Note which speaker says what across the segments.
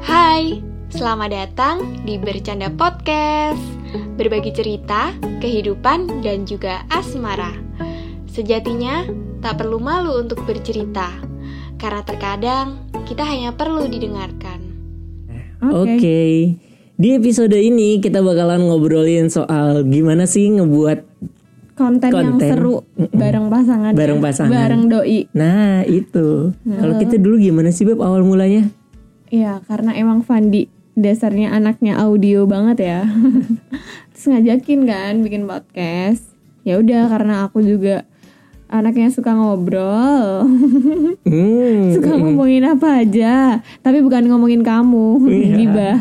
Speaker 1: Hai, selamat datang di Bercanda Podcast Berbagi cerita, kehidupan, dan juga asmara Sejatinya, tak perlu malu untuk bercerita Karena terkadang, kita hanya perlu didengarkan
Speaker 2: Oke.
Speaker 3: Oke. Di episode ini kita bakalan ngobrolin soal gimana sih ngebuat
Speaker 2: Konten, yang
Speaker 3: Konten.
Speaker 2: seru bareng pasangan. ya?
Speaker 3: Bareng pasangan.
Speaker 2: Bareng doi.
Speaker 3: Nah itu Kalau kita dulu gimana sih Beb awal mulanya?
Speaker 2: Iya, karena emang Fandi dasarnya anaknya audio banget ya. Terus ngajakin kan bikin podcast. Ya udah karena aku juga anaknya suka ngobrol.
Speaker 3: Hmm,
Speaker 2: suka ngomongin apa aja, tapi bukan ngomongin kamu,
Speaker 3: Iya.
Speaker 2: gibah.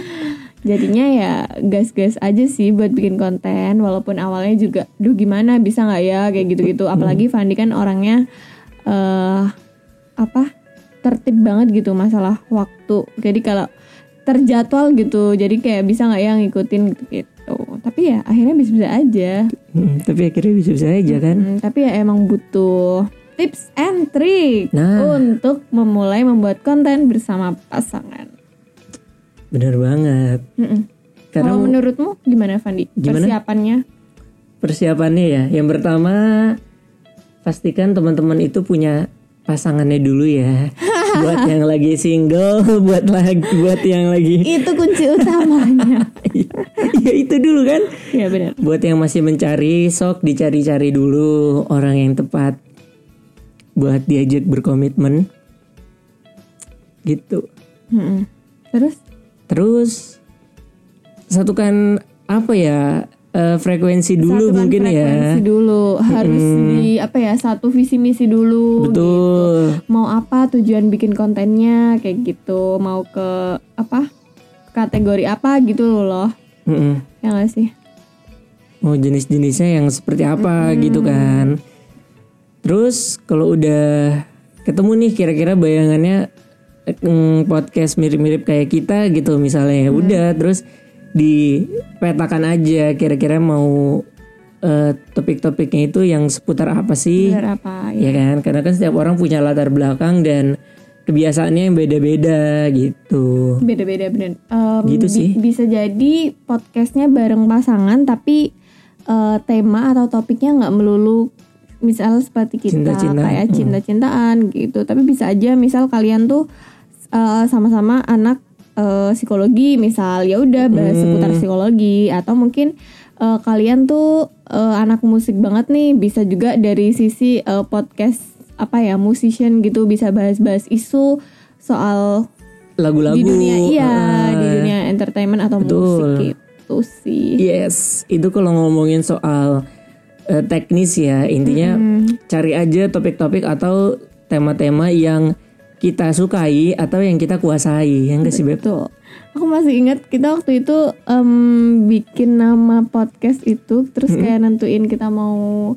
Speaker 2: Jadinya ya gas-gas aja sih buat bikin konten walaupun awalnya juga duh gimana bisa nggak ya kayak gitu-gitu
Speaker 3: Hmm.
Speaker 2: apalagi Fandi kan orangnya eh apa tertib banget gitu masalah waktu. Jadi kalau terjadwal gitu. Jadi kayak bisa nggak ya ngikutin gitu. Tapi ya akhirnya bisa-bisa aja.
Speaker 3: hmm, tapi akhirnya bisa-bisa aja kan?
Speaker 2: Hmm, tapi ya emang butuh tips and trick
Speaker 3: Nah.
Speaker 2: untuk memulai membuat konten bersama pasangan.
Speaker 3: Bener banget.
Speaker 2: Mm-mm.
Speaker 3: Karena
Speaker 2: Kalau menurutmu gimana Fandi
Speaker 3: Gimana?
Speaker 2: persiapannya?
Speaker 3: persiapannya ya, yang pertama pastikan teman-teman itu punya pasangannya dulu ya. buat yang lagi single, buat lagi buat yang lagi
Speaker 2: Itu kunci utamanya.
Speaker 3: ya itu dulu kan.
Speaker 2: ya benar.
Speaker 3: Buat yang masih mencari, sok dicari-cari dulu orang yang tepat buat diajak berkomitmen. Gitu.
Speaker 2: Mm-mm. Terus
Speaker 3: Terus satukan apa ya eh, frekuensi dulu
Speaker 2: satukan
Speaker 3: mungkin
Speaker 2: frekuensi
Speaker 3: ya.
Speaker 2: dulu harus di apa ya satu visi misi dulu.
Speaker 3: Betul.
Speaker 2: Mau apa tujuan bikin kontennya kayak gitu? Mau ke apa? Kategori apa gitu loh?
Speaker 3: Mm-mm.
Speaker 2: Ya nggak sih?
Speaker 3: Mau Oh, jenis-jenisnya yang seperti apa gitu kan. Terus kalau udah ketemu nih kira-kira bayangannya eh, mm, podcast mirip-mirip kayak kita gitu misalnya ya udah terus dipetakan aja kira-kira mau eh, topik-topiknya itu yang seputar apa sih
Speaker 2: Bener apa?
Speaker 3: ya kan karena kan setiap orang punya latar belakang dan kebiasaannya yang beda-beda gitu
Speaker 2: beda-beda bener Em,
Speaker 3: Gitu
Speaker 2: bi-
Speaker 3: sih.
Speaker 2: bisa jadi podcastnya bareng pasangan tapi eh, tema atau topiknya nggak melulu misal seperti kita
Speaker 3: Cinta-cintaan. Hmm.
Speaker 2: kayak cinta-cintaan gitu tapi bisa aja misal kalian tuh eh, sama-sama anak eh, psikologi misal ya udah bahas
Speaker 3: Hmm.
Speaker 2: seputar psikologi atau mungkin eh, kalian tuh eh, anak musik banget nih bisa juga dari sisi eh, podcast apa ya musician gitu bisa bahas-bahas isu soal
Speaker 3: lagu-lagu
Speaker 2: di dunia iya
Speaker 3: eh,
Speaker 2: di dunia entertainment atau
Speaker 3: Betul. Iya,
Speaker 2: musik gitu sih
Speaker 3: Yes, itu kalau ngomongin soal eh, teknis ya intinya cari aja topik-topik atau tema-tema yang kita sukai atau yang kita kuasai yang gak sih Beb?
Speaker 2: betul aku masih ingat kita waktu itu em, bikin nama podcast itu terus kayak nentuin kita mau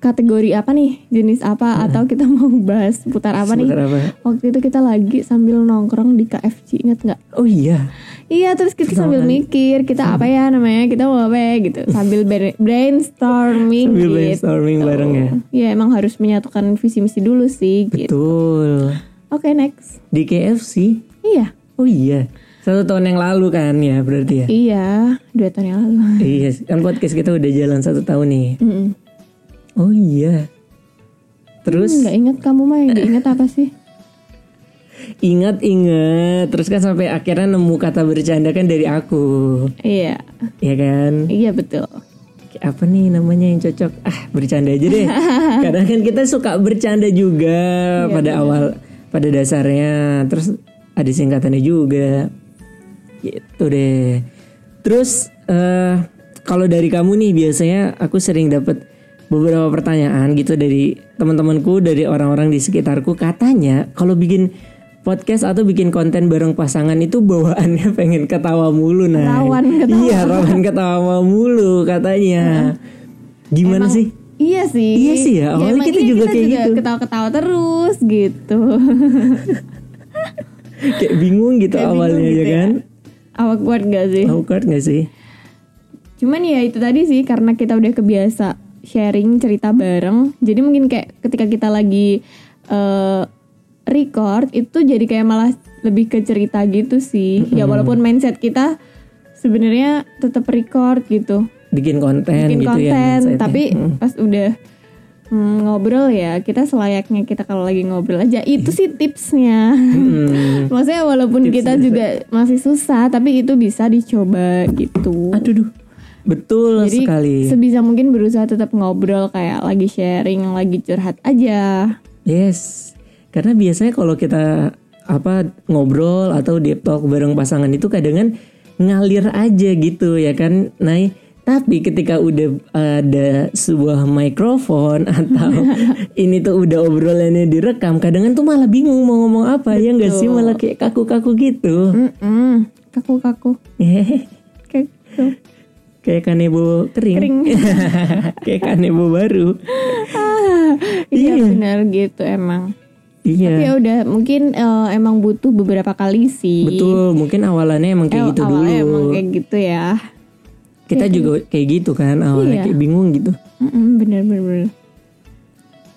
Speaker 2: kategori apa nih jenis apa atau kita mau bahas putar apa nih
Speaker 3: Seputar apa?
Speaker 2: waktu itu kita lagi sambil nongkrong di KFC ingat nggak
Speaker 3: Oh iya,
Speaker 2: Iya terus kita sambil mikir kita apa ya namanya kita mau apa ya gitu sambil bre- brainstorming
Speaker 3: sambil
Speaker 2: gitu.
Speaker 3: brainstorming bareng ya.
Speaker 2: Ya emang harus menyatukan visi misi dulu sih gitu.
Speaker 3: Betul.
Speaker 2: Oke next.
Speaker 3: Di KFC.
Speaker 2: Iya.
Speaker 3: Oh iya. Satu tahun yang lalu kan ya berarti ya.
Speaker 2: Iya, dua tahun yang lalu.
Speaker 3: Iya, kan podcast kita udah jalan satu tahun nih.
Speaker 2: Mm-mm.
Speaker 3: Oh iya. Terus
Speaker 2: Nggak ingat kamu mah yang diingat apa sih?
Speaker 3: Ingat-ingat, terus kan sampai akhirnya nemu kata bercanda kan dari aku,
Speaker 2: Iya,
Speaker 3: ya kan?
Speaker 2: iya betul.
Speaker 3: Apa nih namanya yang cocok? Ah, bercanda aja deh. Karena kan kita suka bercanda juga pada awal, pada dasarnya. Terus ada singkatannya juga, gitu deh. Terus eh kalau dari kamu nih biasanya aku sering dapat beberapa pertanyaan gitu dari teman-temanku, dari orang-orang di sekitarku. Katanya kalau bikin podcast atau bikin konten bareng pasangan itu bawaannya pengen ketawa mulu nah.
Speaker 2: Rawan ketawa.
Speaker 3: Iya, rawan ketawa mulu katanya. Gimana sih?
Speaker 2: Iya sih.
Speaker 3: Iya sih ya, awalnya
Speaker 2: emang
Speaker 3: kita juga kayak gitu.
Speaker 2: Ketawa-ketawa terus gitu.
Speaker 3: Kayak bingung gitu awalnya ya kan?
Speaker 2: Awkward gak sih?
Speaker 3: Awkward gak sih?
Speaker 2: Cuman ya itu tadi sih karena kita udah kebiasa sharing cerita bareng. Jadi mungkin kayak ketika kita lagi eh, record itu jadi kayak malah lebih ke cerita gitu sih. Ya walaupun mindset kita sebenarnya tetap record gitu,
Speaker 3: bikin konten
Speaker 2: bikin
Speaker 3: gitu ya
Speaker 2: konten.
Speaker 3: mindsetnya.
Speaker 2: tapi
Speaker 3: Mm.
Speaker 2: pas udah mm, ngobrol ya kita selayaknya kita kalau lagi ngobrol aja itu sih tipsnya.
Speaker 3: Mm.
Speaker 2: Maksudnya walaupun
Speaker 3: Tips
Speaker 2: kita
Speaker 3: dan
Speaker 2: juga masih susah, tapi itu bisa dicoba gitu.
Speaker 3: aduh duh. betul
Speaker 2: Jadi
Speaker 3: sekali
Speaker 2: sebisa mungkin berusaha tetap ngobrol kayak lagi sharing, lagi curhat aja.
Speaker 3: yes karena biasanya kalau kita apa ngobrol atau deep talk bareng pasangan itu kadang kan ngalir aja gitu ya kan Nay tapi ketika udah ada sebuah mikrofon atau ini tuh udah obrolannya direkam kadang kan tuh malah bingung mau ngomong apa ya nggak sih malah kayak kaku-kaku gitu
Speaker 2: Hmm. Mm-mm. Kaku-kaku. Kaku.
Speaker 3: kayak kanebo kering, kayak kanebo baru
Speaker 2: Ah, iya benar gitu emang.
Speaker 3: iya
Speaker 2: Ya udah mungkin eh, emang butuh beberapa kali sih.
Speaker 3: betul mungkin awalannya emang
Speaker 2: Eh,
Speaker 3: kayak gitu dulu
Speaker 2: awalnya emang kayak gitu ya.
Speaker 3: kita juga kayak gitu kan
Speaker 2: Iya.
Speaker 3: awalnya kayak bingung gitu
Speaker 2: Mm-mm, bener bener bener.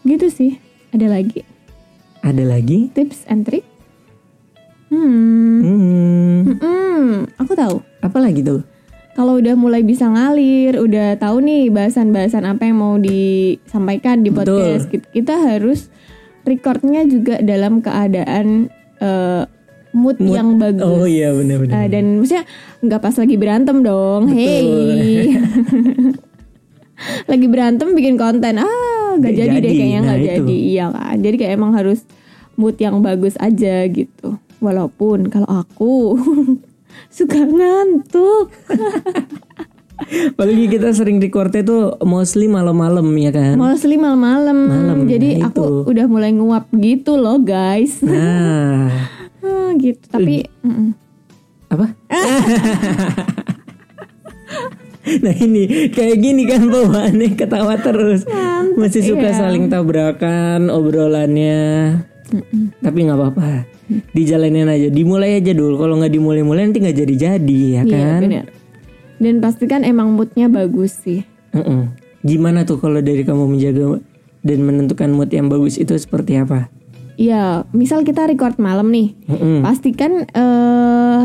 Speaker 2: Gitu sih. Ada lagi
Speaker 3: ada lagi
Speaker 2: tips and trick? Hmm.
Speaker 3: hmm,
Speaker 2: Mm-mm, aku tahu.
Speaker 3: apa lagi tuh
Speaker 2: Kalau udah mulai bisa ngalir, udah tahu nih bahasan-bahasan apa yang mau disampaikan di
Speaker 3: Betul.
Speaker 2: podcast. Kit- Kita harus recordnya juga dalam keadaan eh, mood,
Speaker 3: Mood.
Speaker 2: yang bagus.
Speaker 3: oh iya
Speaker 2: Eh,
Speaker 3: benar-benar
Speaker 2: dan maksudnya nggak pas lagi berantem dong. Hey. lagi berantem bikin konten. Ah, nggak
Speaker 3: Nggak
Speaker 2: jadi, deh
Speaker 3: jadi.
Speaker 2: kayaknya nggak
Speaker 3: Nah, itu.
Speaker 2: jadi. Iya kan. Jadi kayak emang harus mood yang bagus aja gitu. Walaupun kalau aku suka ngantuk.
Speaker 3: apalagi kita sering recordnya tuh mostly malam-malam ya kan
Speaker 2: Mostly malam-malam.
Speaker 3: Malam,
Speaker 2: Jadi
Speaker 3: nah
Speaker 2: aku
Speaker 3: itu.
Speaker 2: udah mulai nguap gitu loh, guys.
Speaker 3: nah
Speaker 2: Ah, gitu. Tapi mm-mm.
Speaker 3: apa nah ini kayak gini kan bawaannya ketawa terus masih suka
Speaker 2: iya.
Speaker 3: saling tabrakan obrolannya tapi nggak apa-apa
Speaker 2: Mm.
Speaker 3: dijalanin aja dimulai aja dulu kalau nggak dimulai-mulai nanti nggak jadi-jadi ya
Speaker 2: Iya,
Speaker 3: kan
Speaker 2: bener. Dan pastikan emang moodnya bagus sih.
Speaker 3: Mm-mm. gimana tuh kalau dari kamu menjaga dan menentukan mood yang bagus itu seperti apa
Speaker 2: Ya, misal kita record malam nih,
Speaker 3: Mm-mm.
Speaker 2: pastikan eh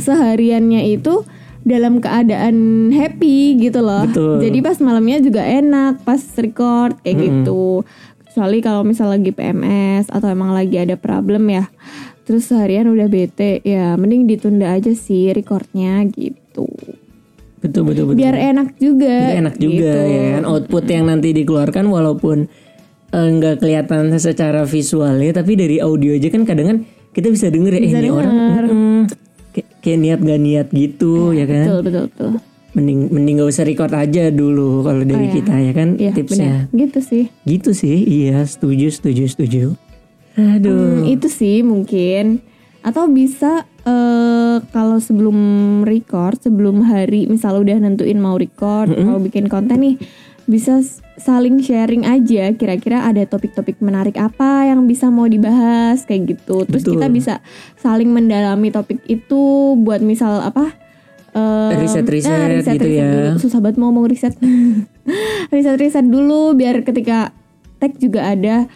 Speaker 2: sehariannya itu dalam keadaan happy gitu loh.
Speaker 3: Betul. Hmm.
Speaker 2: Jadi pas malamnya juga enak pas record kayak gitu. Kecuali kalau misal lagi PMS atau emang lagi ada problem ya. Terus seharian udah bete, ya mending ditunda aja sih recordnya gitu.
Speaker 3: betul betul betul
Speaker 2: Biar enak juga.
Speaker 3: Itu enak juga
Speaker 2: gitu.
Speaker 3: ya kan output yang nanti dikeluarkan walaupun eh, nggak kelihatan secara visualnya tapi dari audio aja kan kadang kan kita bisa denger ya eh, ini orang mm, kayak, kayak niat gak niat gitu ya kan
Speaker 2: Iya, Betul betul betul.
Speaker 3: mending mending gak usah record aja dulu kalau dari kita ya kan
Speaker 2: Oh, Iya,
Speaker 3: tipsnya
Speaker 2: benar. Gitu sih.
Speaker 3: gitu sih iya setuju setuju setuju aduh
Speaker 2: Hmm, itu sih mungkin atau bisa eh, kalau sebelum record sebelum hari misal udah nentuin mau record mau bikin konten nih bisa s- saling sharing aja kira-kira ada topik-topik menarik apa yang bisa mau dibahas kayak gitu terus
Speaker 3: Betul.
Speaker 2: kita bisa saling mendalami topik itu buat misal apa eh,
Speaker 3: Riset-riset gitu ya.
Speaker 2: dulu. susah banget mau ngomong riset riset-riset dulu biar ketika tag juga ada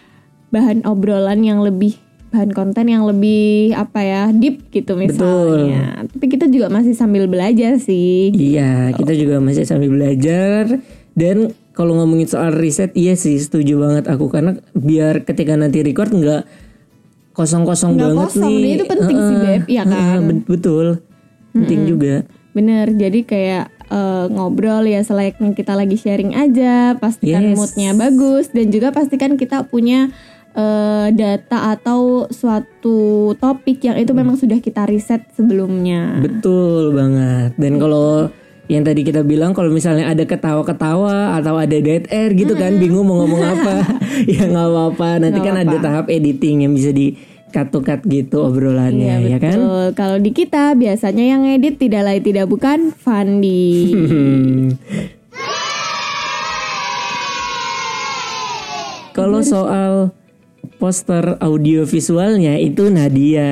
Speaker 2: bahan obrolan yang lebih bahan konten yang lebih apa ya deep gitu misalnya. Tapi kita juga masih sambil belajar sih.
Speaker 3: Iya, kita juga masih sambil belajar dan kalau ngomongin soal riset, iya sih setuju banget aku karena biar ketika nanti record nggak kosong-kosong
Speaker 2: Nggak
Speaker 3: banget
Speaker 2: kosong,
Speaker 3: nih.
Speaker 2: dan itu penting sih,
Speaker 3: Heeh,
Speaker 2: Beb, iya
Speaker 3: heeh,
Speaker 2: kan?
Speaker 3: bet- betul, penting juga.
Speaker 2: Bener, jadi kayak eh, ngobrol ya selayaknya kita lagi sharing aja, pastikan
Speaker 3: Yes.
Speaker 2: moodnya bagus dan juga pastikan kita punya eh, data atau suatu topik yang itu memang sudah kita riset sebelumnya.
Speaker 3: Betul banget. Dan kalau yang tadi kita bilang kalau misalnya ada ketawa-ketawa atau ada dead air gitu kan bingung mau ngomong apa ya nggak apa-apa nanti kan ada tahap editing yang bisa di cut to cut gitu obrolannya ya kan
Speaker 2: Iya, Betul. Kalau di kita biasanya yang edit tidak lain tidak bukan Fandi.
Speaker 3: Hmm. Kalau soal poster audio visualnya itu Nadia.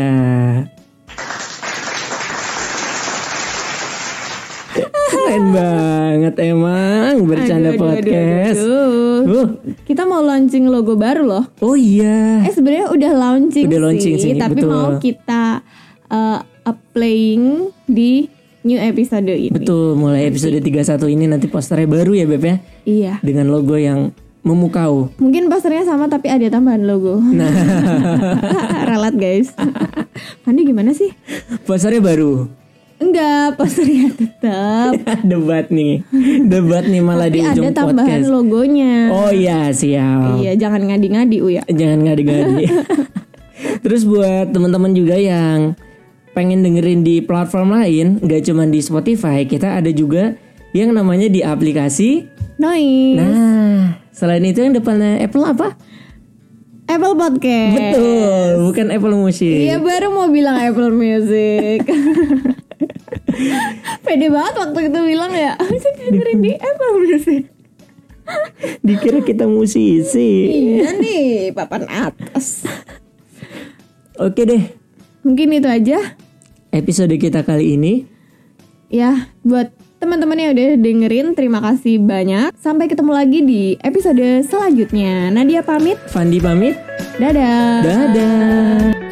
Speaker 3: Keren banget emang bercanda
Speaker 2: Aduh, aduh, aduh,
Speaker 3: podcast.
Speaker 2: aduh.
Speaker 3: Huh.
Speaker 2: Kita mau launching logo baru loh.
Speaker 3: Oh iya.
Speaker 2: Eh sebenarnya udah launching,
Speaker 3: Udah launching sih,
Speaker 2: tapi
Speaker 3: betul.
Speaker 2: mau kita eh, applying di new episode ini.
Speaker 3: Betul, mulai episode 31 ini nanti posternya baru ya Beb ya
Speaker 2: Iya.
Speaker 3: dengan logo yang memukau.
Speaker 2: Mungkin posternya sama tapi ada tambahan logo.
Speaker 3: Nah,
Speaker 2: Ralat guys. Mandi gimana sih?
Speaker 3: posternya baru.
Speaker 2: Enggak, posternya tetap.
Speaker 3: Debat nih. Debat nih malah
Speaker 2: tapi
Speaker 3: di
Speaker 2: ada
Speaker 3: ujung
Speaker 2: tambahan
Speaker 3: podcast.
Speaker 2: logonya.
Speaker 3: Oh iya, siap.
Speaker 2: Iya, jangan ngadi-ngadi Uya.
Speaker 3: Jangan ngadi-ngadi. Terus buat teman-teman juga yang pengen dengerin di platform lain, nggak cuma di Spotify, kita ada juga yang namanya di aplikasi.
Speaker 2: Noise.
Speaker 3: Nah, selain itu yang depannya Apple apa?
Speaker 2: Apple Podcast.
Speaker 3: Betul, bukan Apple Music.
Speaker 2: Iya baru mau bilang Apple Music. Pede banget waktu itu bilang ya. Saya dengerin di Apple Music.
Speaker 3: Dikira kita musisi.
Speaker 2: Iya nih, papan atas.
Speaker 3: Oke deh,
Speaker 2: Mungkin itu aja.
Speaker 3: episode kita kali ini.
Speaker 2: Ya, buat teman-teman yang udah dengerin, terima kasih banyak. Sampai ketemu lagi di episode selanjutnya. Nadia pamit.
Speaker 3: Fandi pamit.
Speaker 2: Dadah.
Speaker 3: Dadah.